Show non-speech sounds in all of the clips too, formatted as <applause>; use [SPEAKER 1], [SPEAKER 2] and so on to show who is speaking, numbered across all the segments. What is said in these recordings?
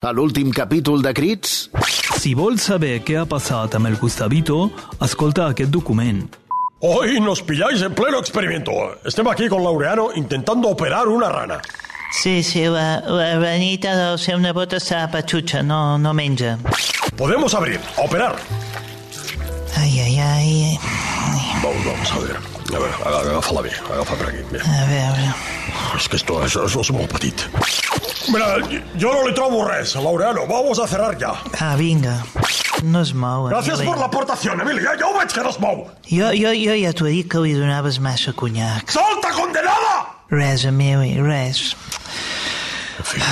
[SPEAKER 1] A l'últim capítol de Crits,
[SPEAKER 2] Si vols saber què ha passat amb el Gustavito, escolta aquest document.
[SPEAKER 3] Hoy nos pilláis en pleno experimento. Estemos aquí con Laureano intentando operar una rana.
[SPEAKER 4] Sí, sí, la, la ranita del seu nebot està patxutxa, no, no menja.
[SPEAKER 3] Podemos abrir, a operar.
[SPEAKER 4] Ai, ai, ai...
[SPEAKER 3] Vamos, vamos, a ver. A ver, aga- agafa-la bé, agafa per aquí. Bé.
[SPEAKER 4] A veure...
[SPEAKER 3] És que esto, això, això és molt petit. Mira, jo no li trobo res, Laureano. Vamos a cerrar ja.
[SPEAKER 4] Ah, vinga. No es mou.
[SPEAKER 3] Gràcies
[SPEAKER 4] Emili.
[SPEAKER 3] per l'aportació, Emili. Ja, ja ho veig que no es mou.
[SPEAKER 4] Jo, jo, jo ja t'ho he dit que li donaves massa conyac.
[SPEAKER 3] Solta, condenada!
[SPEAKER 4] Res, Emili, res.
[SPEAKER 3] En fin.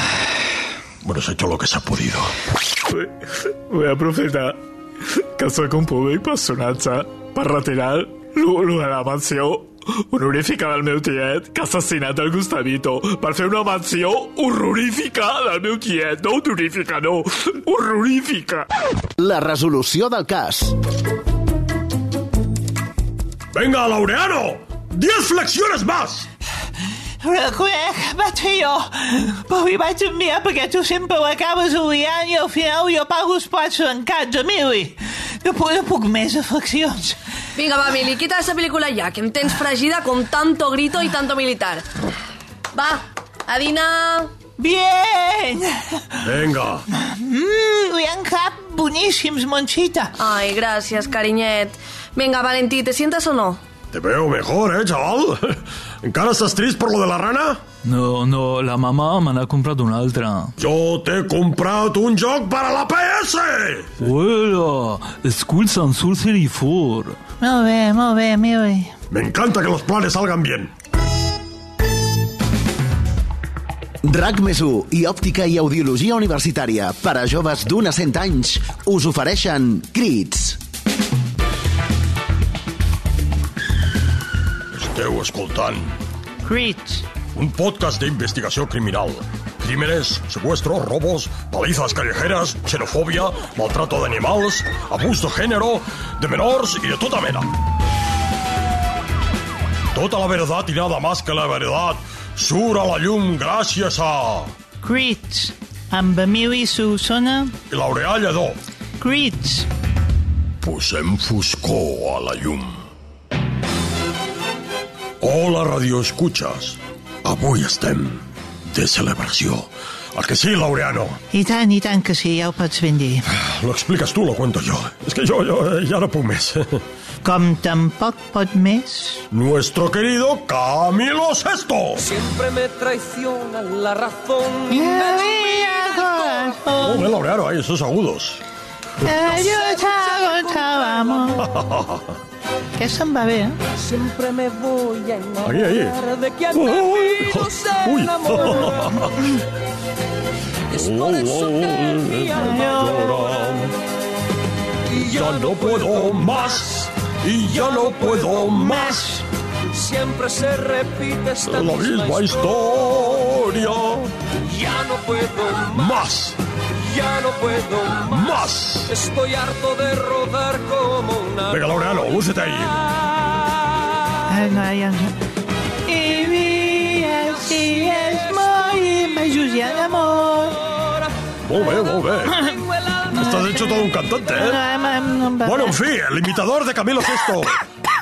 [SPEAKER 3] Bueno, se ha hecho lo que se ha podido.
[SPEAKER 5] Voy a profetar que sóc un públic personatge per retirar lo, lo de la menció honorífica del meu tiet que ha assassinat el Gustavito per fer una menció horrorífica del meu tiet, no honorífica, no, horrorífica.
[SPEAKER 1] la resolució del cas.
[SPEAKER 3] Venga, Laureano. ¡Diez flexiones más!
[SPEAKER 4] Reconec, vaig fer jo, però li vaig enviar perquè tu sempre l'acabes oliant i al final jo pago els plats trencats, Emili. No puc, no puc més afeccions.
[SPEAKER 6] Vinga, va, Mili, quita esa película ya, que em tens fregida con tanto grito y tanto militar. Va, a dinar...
[SPEAKER 4] Bien!
[SPEAKER 3] Venga.
[SPEAKER 4] Mmm, li han cap boníssims, Monchita.
[SPEAKER 6] Ay, gracias, cariñet. Venga, Valentí, ¿te sientas o no?
[SPEAKER 3] Te veo mejor, ¿eh, chaval? <laughs> ¿Encara estás triste por lo de la rana?
[SPEAKER 2] No, no, la mamà me n'ha comprat una altra.
[SPEAKER 3] Jo t'he comprat un joc per a la PS!
[SPEAKER 2] Uela, Skulls and Sorcery 4.
[SPEAKER 4] Molt bé, molt bé, Emili.
[SPEAKER 3] Me encanta que los planes salgan bien.
[SPEAKER 1] RAC més 1 i Òptica i Audiologia Universitària per a joves d'un a 100 anys us ofereixen Crits.
[SPEAKER 3] Esteu escoltant
[SPEAKER 4] Crits.
[SPEAKER 3] un podcast de investigació criminal. Crímenes, secuestros, robos, palizas callejeras, xenofobia, maltrato de animals, abús de género, de menors i de tota mena. Tota la verdad i nada más que la verdad surt a la llum gràcies a...
[SPEAKER 4] Crits. Amb Emili Solsona,
[SPEAKER 3] L'Aureà Lledó.
[SPEAKER 4] Crits.
[SPEAKER 3] Posem foscor a la llum. Hola, radioescuchas. Avui estem de celebració. El que sí, Laureano.
[SPEAKER 4] I tant, i tant que sí, ja ho pots ben dir.
[SPEAKER 3] Lo expliques tu, lo cuento yo. Es que yo, yo eh, ya no puc més.
[SPEAKER 4] Com tampoc pot més...
[SPEAKER 3] <laughs> Nuestro querido Camilo Sesto.
[SPEAKER 7] Siempre me traiciona la razón.
[SPEAKER 3] Molt bé, Laureano, ai, esos agudos.
[SPEAKER 4] Que se'n va bé, eh?
[SPEAKER 7] Siempre me voy a enamorar
[SPEAKER 3] Ahí, ahí.
[SPEAKER 7] de quien
[SPEAKER 3] Uy,
[SPEAKER 7] de mí
[SPEAKER 3] uy.
[SPEAKER 7] no se
[SPEAKER 3] Uy.
[SPEAKER 7] enamora.
[SPEAKER 3] <laughs>
[SPEAKER 7] Es
[SPEAKER 3] Oh,
[SPEAKER 7] por eso que mi alma y
[SPEAKER 3] oh. Ya
[SPEAKER 7] yo
[SPEAKER 3] no puedo más. Y ya no puedo más.
[SPEAKER 7] siempre se repite esta
[SPEAKER 3] La misma historia.
[SPEAKER 7] Ya no puedo más,
[SPEAKER 3] Más,
[SPEAKER 7] ya no puedo más.
[SPEAKER 3] más.
[SPEAKER 7] Estoy harto de rodar como una.
[SPEAKER 3] Venga, Laureano, lúcete ahí.
[SPEAKER 4] Ai, no, ja no. I via, si és molt majúcia d'amor...
[SPEAKER 3] Molt bé, molt bé.
[SPEAKER 7] Tengo el alma
[SPEAKER 3] Estás hecho todo un cantante,
[SPEAKER 4] No,
[SPEAKER 3] ¿eh?
[SPEAKER 4] em- em- no em va
[SPEAKER 3] Bueno, en
[SPEAKER 4] bé.
[SPEAKER 3] fin, el imitador de Camilo Sesto,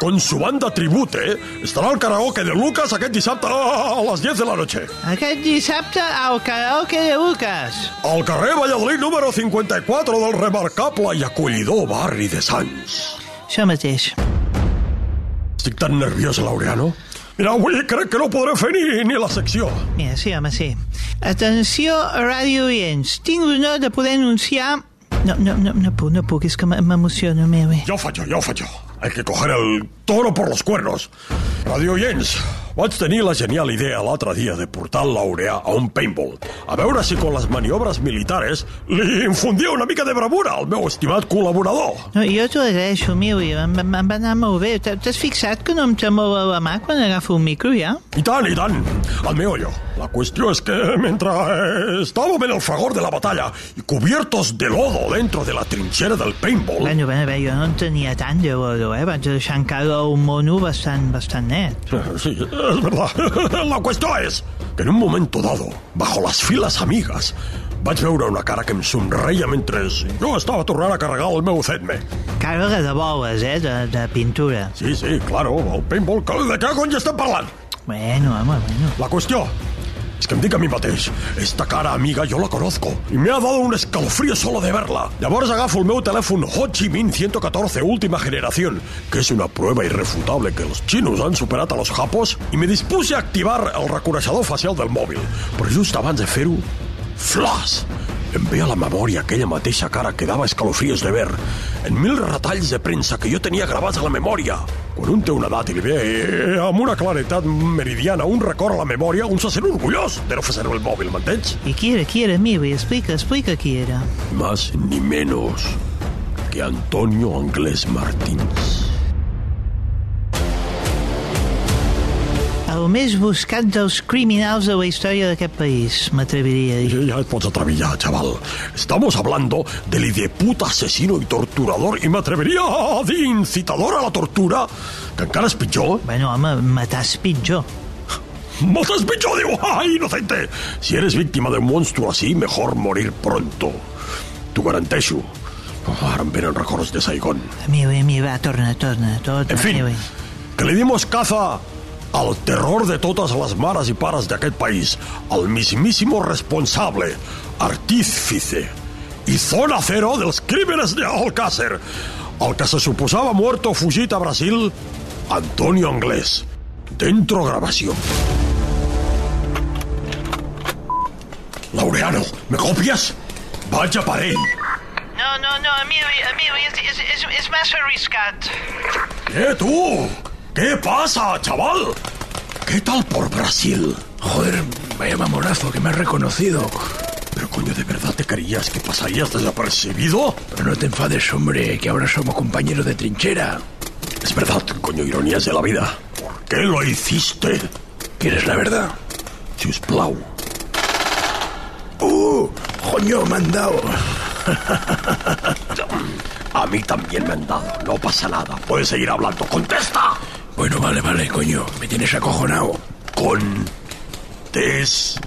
[SPEAKER 3] con su banda tribute, ¿eh? estará al karaoke de Lucas aquest dissabte a les 10 de la noche.
[SPEAKER 4] Aquest dissabte al karaoke de Lucas.
[SPEAKER 3] Al carrer Valladolid número 54 del remarcable i acollidor barri de Sants.
[SPEAKER 4] Això mateix.
[SPEAKER 3] Estic tan nerviós, Laureano. Mira, avui crec que no podré fer ni, ni la secció.
[SPEAKER 4] Mira, sí, home, sí. Atenció, ràdio oients. Tinc l'honor de poder anunciar... No, no, no, no puc, no puc, és que m- m'emociono, meu bé.
[SPEAKER 3] Jo ho faig, jo, jo ho faig. jo. Hay que coger el toro por los cuernos. Radio Jens, vaig tenir la genial idea l'altre dia de portar el l'Aureà a un paintball. A veure si con les maniobres militares li infundia una mica de bravura al meu estimat col·laborador.
[SPEAKER 4] No, jo t'ho agraeixo, Mili, em, em, em va anar molt bé. T'ha- T'has fixat que no em tremola la mà quan agafo un micro, ja?
[SPEAKER 3] I tant, i tant, al meollo. La qüestió és que mentre eh, estàvem en el fragor de la batalla i cubiertos de lodo dentro de la trinxera del paintball...
[SPEAKER 4] Bueno, bueno, bé, jo no en tenia tant de l'oro, eh? Vaig deixar encara un mono bastant, bastant net.
[SPEAKER 3] Sí, es verdad. <laughs> La qüestió és que en un moment dado, bajo las files amigues, vaig veure una cara que em somreia mentre jo estava tornant a carregar el meu Zetme.
[SPEAKER 4] Càrrega de boles, eh, de, de pintura.
[SPEAKER 3] Sí, sí, claro, el paintball, que- de què cony estem parlant?
[SPEAKER 4] Bueno, home, bueno.
[SPEAKER 3] La qüestió és que em dic a mi mateix, esta cara amiga jo la conozco i m'ha dado un escalofrío solo de verla. Llavors agafo el meu telèfon Ho Chi Minh 114 última generación, que és una prueba irrefutable que los chinos han superat a los japos, i me dispuse a activar el reconeixedor facial del mòbil. Però just abans de fer-ho, flash! Em ve a la memòria aquella mateixa cara que dava escalofríos de ver, en mil retalls de premsa que jo tenia gravats a la memòria. Quan un té una edat i li ve eh, amb una claretat meridiana un record a la memòria, un se sent orgullós de no fer servir el mòbil, m'entens?
[SPEAKER 4] I qui era, qui era, Miwi? Explica, explica qui era.
[SPEAKER 3] Más ni menos que Antonio Anglés Martins.
[SPEAKER 4] El més buscat dels criminals de la història d'aquest país, m'atreviria a dir.
[SPEAKER 3] Ya, ya es pots atravillar, chaval. Estamos hablando del ideputa asesino y torturador, y me atrevería a dir incitador a la tortura, que encara és pitjor. eh?
[SPEAKER 4] Bueno, home, matar és pitjor.
[SPEAKER 3] ¡Más es pitjor, digo! ¡Ay, inocente! Si eres víctima de un monstruo así, mejor morir pronto. T'ho garanteixo. Oh, ara em venen records de Saigon.
[SPEAKER 4] Miwi, mi, va, torna, torna, torna,
[SPEAKER 3] En fin,
[SPEAKER 4] Miwi.
[SPEAKER 3] que li dimos caza al terror de totes les mares i pares d'aquest país, al mismísimo responsable, artífice i zona cero dels crímenes de Alcácer, el que se suposava muerto o fugit a Brasil, Antonio Anglés. Dentro grabació. Laureano, me copies? Vaig a per ell.
[SPEAKER 4] No, no, no, Miwi, Miwi, és, és, és, és massa arriscat.
[SPEAKER 3] ¡Eh, tú! ¿Qué pasa, chaval? ¿Qué tal por Brasil?
[SPEAKER 8] Joder, vaya mamonazo que me has reconocido.
[SPEAKER 3] Pero coño, ¿de verdad te creías que pasarías desapercibido?
[SPEAKER 8] Pero no te enfades, hombre, que ahora somos compañeros de trinchera.
[SPEAKER 3] Es verdad, coño, ironías de la vida. ¿Por qué lo hiciste?
[SPEAKER 8] ¿Quieres la verdad?
[SPEAKER 3] Si us plau.
[SPEAKER 8] ¡Uh! ¡Coño, me han dado!
[SPEAKER 3] A mí también me han dado. No pasa nada. Puedes seguir hablando. ¡Contesta!
[SPEAKER 8] Bueno, vale, vale, coño, me tienes acojonado.
[SPEAKER 3] Con... Tes...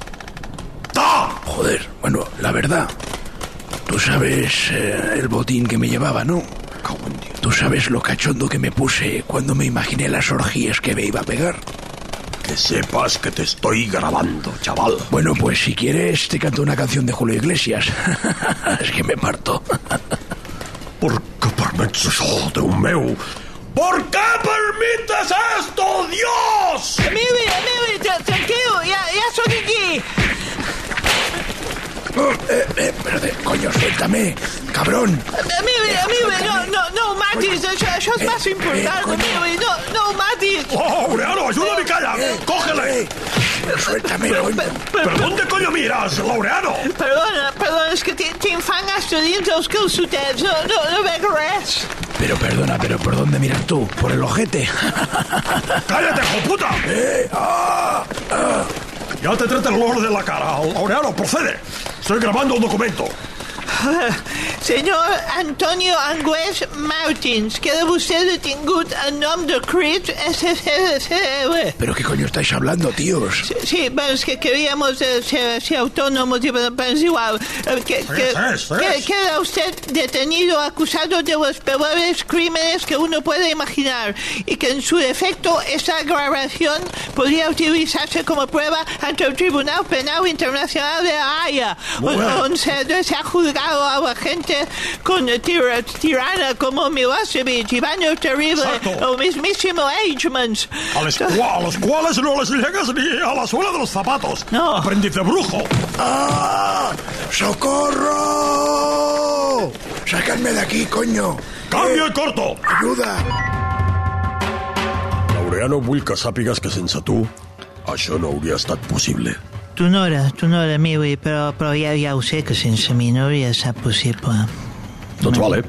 [SPEAKER 3] ¡Ta!
[SPEAKER 8] Joder, bueno, la verdad. Tú sabes eh, el botín que me llevaba, ¿no?
[SPEAKER 3] Cago en Dios.
[SPEAKER 8] Tú sabes lo cachondo que me puse cuando me imaginé las orgías que me iba a pegar.
[SPEAKER 3] Que sepas que te estoy grabando, chaval.
[SPEAKER 8] Bueno, pues si quieres te canto una canción de Julio Iglesias. <laughs> es que me parto.
[SPEAKER 3] Perquè permets això, Déu meu? Per què permites esto, Dios?
[SPEAKER 4] Miwi, Miwi, tra- tranquil, ja, ja sóc aquí.
[SPEAKER 8] Eh, eh, pero de- coño, suéltame, cabrón.
[SPEAKER 4] Miwi, Miwi, no, no, no ho matis, això, això és massa
[SPEAKER 8] Eh, eh,
[SPEAKER 4] important,
[SPEAKER 8] coño.
[SPEAKER 4] Miwi, no, no ho matis. Eh,
[SPEAKER 3] Oh, Laureano, ayúdame, calla. Cógele.
[SPEAKER 8] Suéltame, coño.
[SPEAKER 3] ¿Pero dónde coño miras, Laureano?
[SPEAKER 4] Perdona, perdona, és que tinc, tinc fang hasta dins dels calçotets, no, no, no veig res. <laughs>
[SPEAKER 8] Pero perdona, pero ¿por dónde miras tú? ¿Por el ojete?
[SPEAKER 3] <laughs> Cállate, joputa.
[SPEAKER 8] Eh, ah, ah.
[SPEAKER 3] Ya te trata el olor de la cara. Laureano, procede. Estoy grabando un documento.
[SPEAKER 4] Senyor Antonio Anglès Martins, queda vostè detingut en nom de Creed SCDCB.
[SPEAKER 8] ¿Pero qué coño estáis hablando, tíos?
[SPEAKER 4] Sí, bueno, es que queríamos eh, ser, ser autónomos y pero es igual. Eh, Que, que,
[SPEAKER 3] sí, sí.
[SPEAKER 4] que- queda usted detenido acusado de los peores crímenes que uno puede imaginar y que en su defecto esa grabación podría utilizarse como prueba ante el Tribunal Penal Internacional de La Haya,
[SPEAKER 3] Muy
[SPEAKER 4] on-
[SPEAKER 3] bien.
[SPEAKER 4] donde se ha juzgado a la gente con tira- tirana como Milosevic, Iván el Terrible
[SPEAKER 3] Exacto.
[SPEAKER 4] o mismísimo Agemans.
[SPEAKER 3] A, les cua- a los cuales no les llegas ni a la suela de los zapatos.
[SPEAKER 4] No.
[SPEAKER 3] Aprendiz de brujo.
[SPEAKER 8] ¡Ah! ¡Socorro! ¡Sácame de aquí, coño!
[SPEAKER 3] Cambio y corto.
[SPEAKER 8] ¡Ayuda!
[SPEAKER 3] Laureano, vull que sàpigues que sense tu això no hauria estat possible.
[SPEAKER 4] Tu no era, tu no era Miwi, però, però ja, ja ho sé que sense mi no hauria estat possible.
[SPEAKER 3] Doncs vale.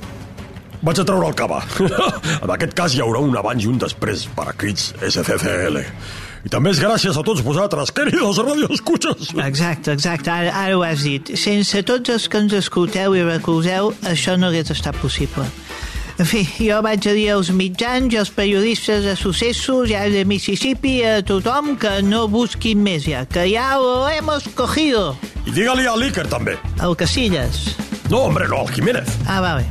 [SPEAKER 3] Vaig a treure el cava. en aquest cas hi haurà un abans i un després per a crits SCCL. I també és gràcies a tots vosaltres, queridos radioescuches.
[SPEAKER 4] Exacte, exacte, ara, ara ho has dit. Sense tots els que ens escolteu i recolzeu, això no hagués estat possible. En fi, jo vaig a dir als mitjans i als periodistes de successos i als de Mississippi i a tothom que no busquin més ja, que ja lo hemos cogido.
[SPEAKER 3] Y dígale a Iker también.
[SPEAKER 4] El Casillas.
[SPEAKER 3] No, hombre, no, al Jiménez.
[SPEAKER 4] Ah, vale.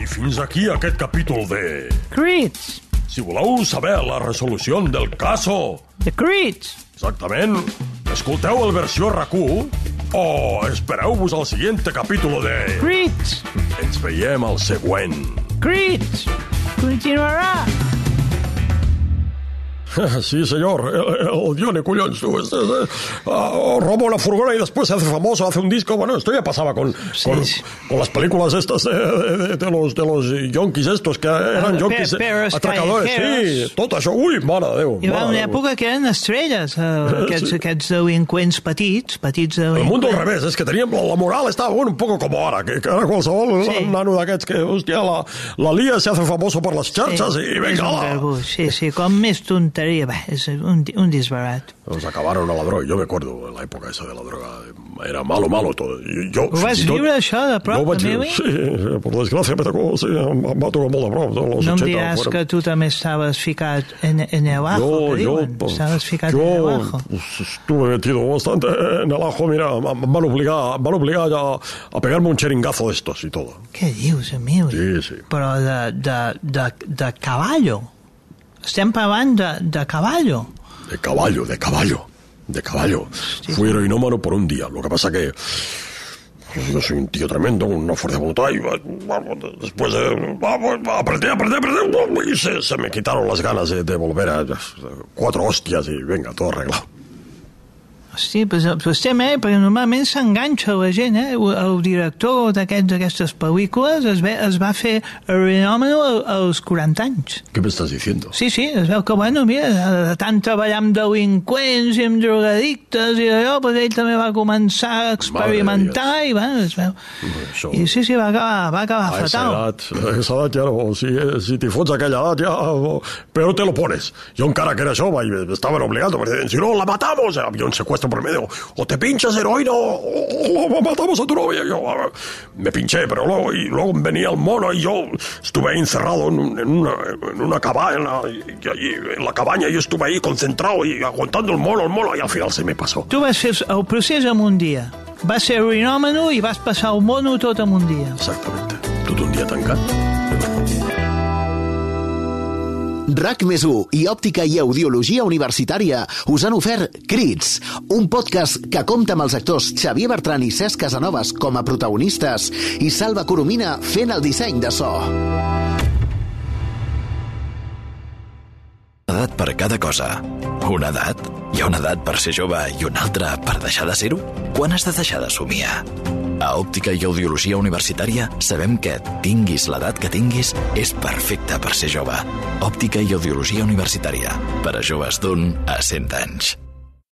[SPEAKER 3] I fins aquí aquest capítol de...
[SPEAKER 4] Crits.
[SPEAKER 3] Si voleu saber la resolució del caso,
[SPEAKER 4] The Crits.
[SPEAKER 3] exactament, escolteu el versió RAC1 o espereu-vos al siguiente capítol de...
[SPEAKER 4] Crits.
[SPEAKER 3] Ens veiem al següent.
[SPEAKER 4] Crits. Continuarà.
[SPEAKER 3] <laughs> Sí, señor, el, el Dione, collons, tú, este, este, ah, roba una furgona y después se hace famoso, hace un disco, bueno, esto ya pasaba con, con,
[SPEAKER 4] sí.
[SPEAKER 3] con las películas estas de, de- de los, de los yonkis estos, que eran
[SPEAKER 4] Ah, pe-
[SPEAKER 3] yonkis eh,
[SPEAKER 4] perros
[SPEAKER 3] atracadores,
[SPEAKER 4] callejeros.
[SPEAKER 3] sí, tot això, ui, mare de Déu.
[SPEAKER 4] Hi
[SPEAKER 3] mare
[SPEAKER 4] va
[SPEAKER 3] de
[SPEAKER 4] una
[SPEAKER 3] Déu.
[SPEAKER 4] època que eren estrelles, eh, aquests,
[SPEAKER 3] Sí.
[SPEAKER 4] aquests delinqüents petits, petits
[SPEAKER 3] El
[SPEAKER 4] delinqüents.
[SPEAKER 3] mundo al revés, és que teníem la, la moral estava bueno, un poco com ara, que, que ara qualsevol
[SPEAKER 4] Sí.
[SPEAKER 3] nano d'aquests que, hòstia, la, la lia se hace famoso per les xarxes i
[SPEAKER 4] és
[SPEAKER 3] vinga,
[SPEAKER 4] un
[SPEAKER 3] ala.
[SPEAKER 4] garbuix, sí, sí, com més tonteria, va, és un, di- un disbarat.
[SPEAKER 3] Doncs acabaron a la droga, jo me acuerdo, la època esa de la droga, era malo, malo tot. Jo, jo,
[SPEAKER 4] Ho vas
[SPEAKER 3] fins i
[SPEAKER 4] viure, això, de prop,
[SPEAKER 3] Jo ho vaig
[SPEAKER 4] també,
[SPEAKER 3] viure,
[SPEAKER 4] oi?
[SPEAKER 3] pues, sí, per desgràcia, me tocó, sí, em, em va tocar molt de prop, de los
[SPEAKER 4] No em
[SPEAKER 3] 80.
[SPEAKER 4] diràs
[SPEAKER 3] fueron-
[SPEAKER 4] que tu també estaves ficat en, en el ajo, que diuen.
[SPEAKER 3] pues,
[SPEAKER 4] Estaves ficat en el
[SPEAKER 3] yo,
[SPEAKER 4] ajo.
[SPEAKER 3] pues, estuve metido bastante en el ajo, mira, me han me han obligado, me han obligado ya a pegarme un cheringazo de estos y todo.
[SPEAKER 4] Què dius, amiu?
[SPEAKER 3] Sí, sí.
[SPEAKER 4] Però de, de, de, de cavallo. Estem parlant de, de cavallo.
[SPEAKER 3] De caballo, de caballo, de caballo. Fui heroinómano por un día. Lo que pasa que pues, yo soy un tío tremendo, una fuerza de voluntad. Y vamos, después de... Vamos, aprendí, aprendí, aprendí. Y se, se me quitaron las ganas de, de volver a... pues, Cuatro hostias y venga, todo arreglado.
[SPEAKER 4] Hosti, pues, pues estem, eh? Perquè normalment s'enganxa la gent, eh? El, el director d'aquests- d'aquestes pel·lícules es, ve, es va fer renòmeno als 40 anys.
[SPEAKER 3] ¿Qué me estás diciendo?
[SPEAKER 4] Sí, sí, es veu que, bueno, mira, de- de tant treballar amb delinqüents i amb drogadictes i allò, doncs ell també va començar a experimentar i, bueno, es veu...
[SPEAKER 3] Això-
[SPEAKER 4] I sí, sí, va acabar, va acabar
[SPEAKER 3] A esa
[SPEAKER 4] fatal.
[SPEAKER 3] edad, a esa edad ya Eh, no, si, eh, si te fots a aquella edad ya, no, pero eh, te lo pones. Yo un cara que era jove y me estaban obligando, me decían, si no, la matamos, Eh, había un secuestro por medio, o te pinchas heroína o, o- o matamos a tu novia. Yo ah, me pinché, pero luego, y luego venía el mono y yo estuve ahí encerrado en, un- en una, en una cabaña, y allí, en la cabaña yo estuve ahí concentrado y aguantando el mono, el mono, y al final se me pasó.
[SPEAKER 4] Tu vas fer el procés en un dia. Vas ser renòmeno i vas passar el mono tot en un dia.
[SPEAKER 3] Exactamente. Todo un día tancat.
[SPEAKER 1] RAC més 1 i Òptica i Audiologia Universitària us han ofert Crits, un podcast que compta amb els actors Xavier Bertran i Cesc Casanovas com a protagonistes i Salva Coromina fent el disseny de so.
[SPEAKER 9] edat per cada cosa. Una edat? Hi ha una edat per ser jove i una altra per deixar de ser-ho? Quan has de deixar de somiar? A Òptica i Audiologia Universitària sabem que, tinguis l'edat que tinguis, és perfecte per ser jove. Òptica i Audiologia Universitària. Per a joves d'un a 100 anys.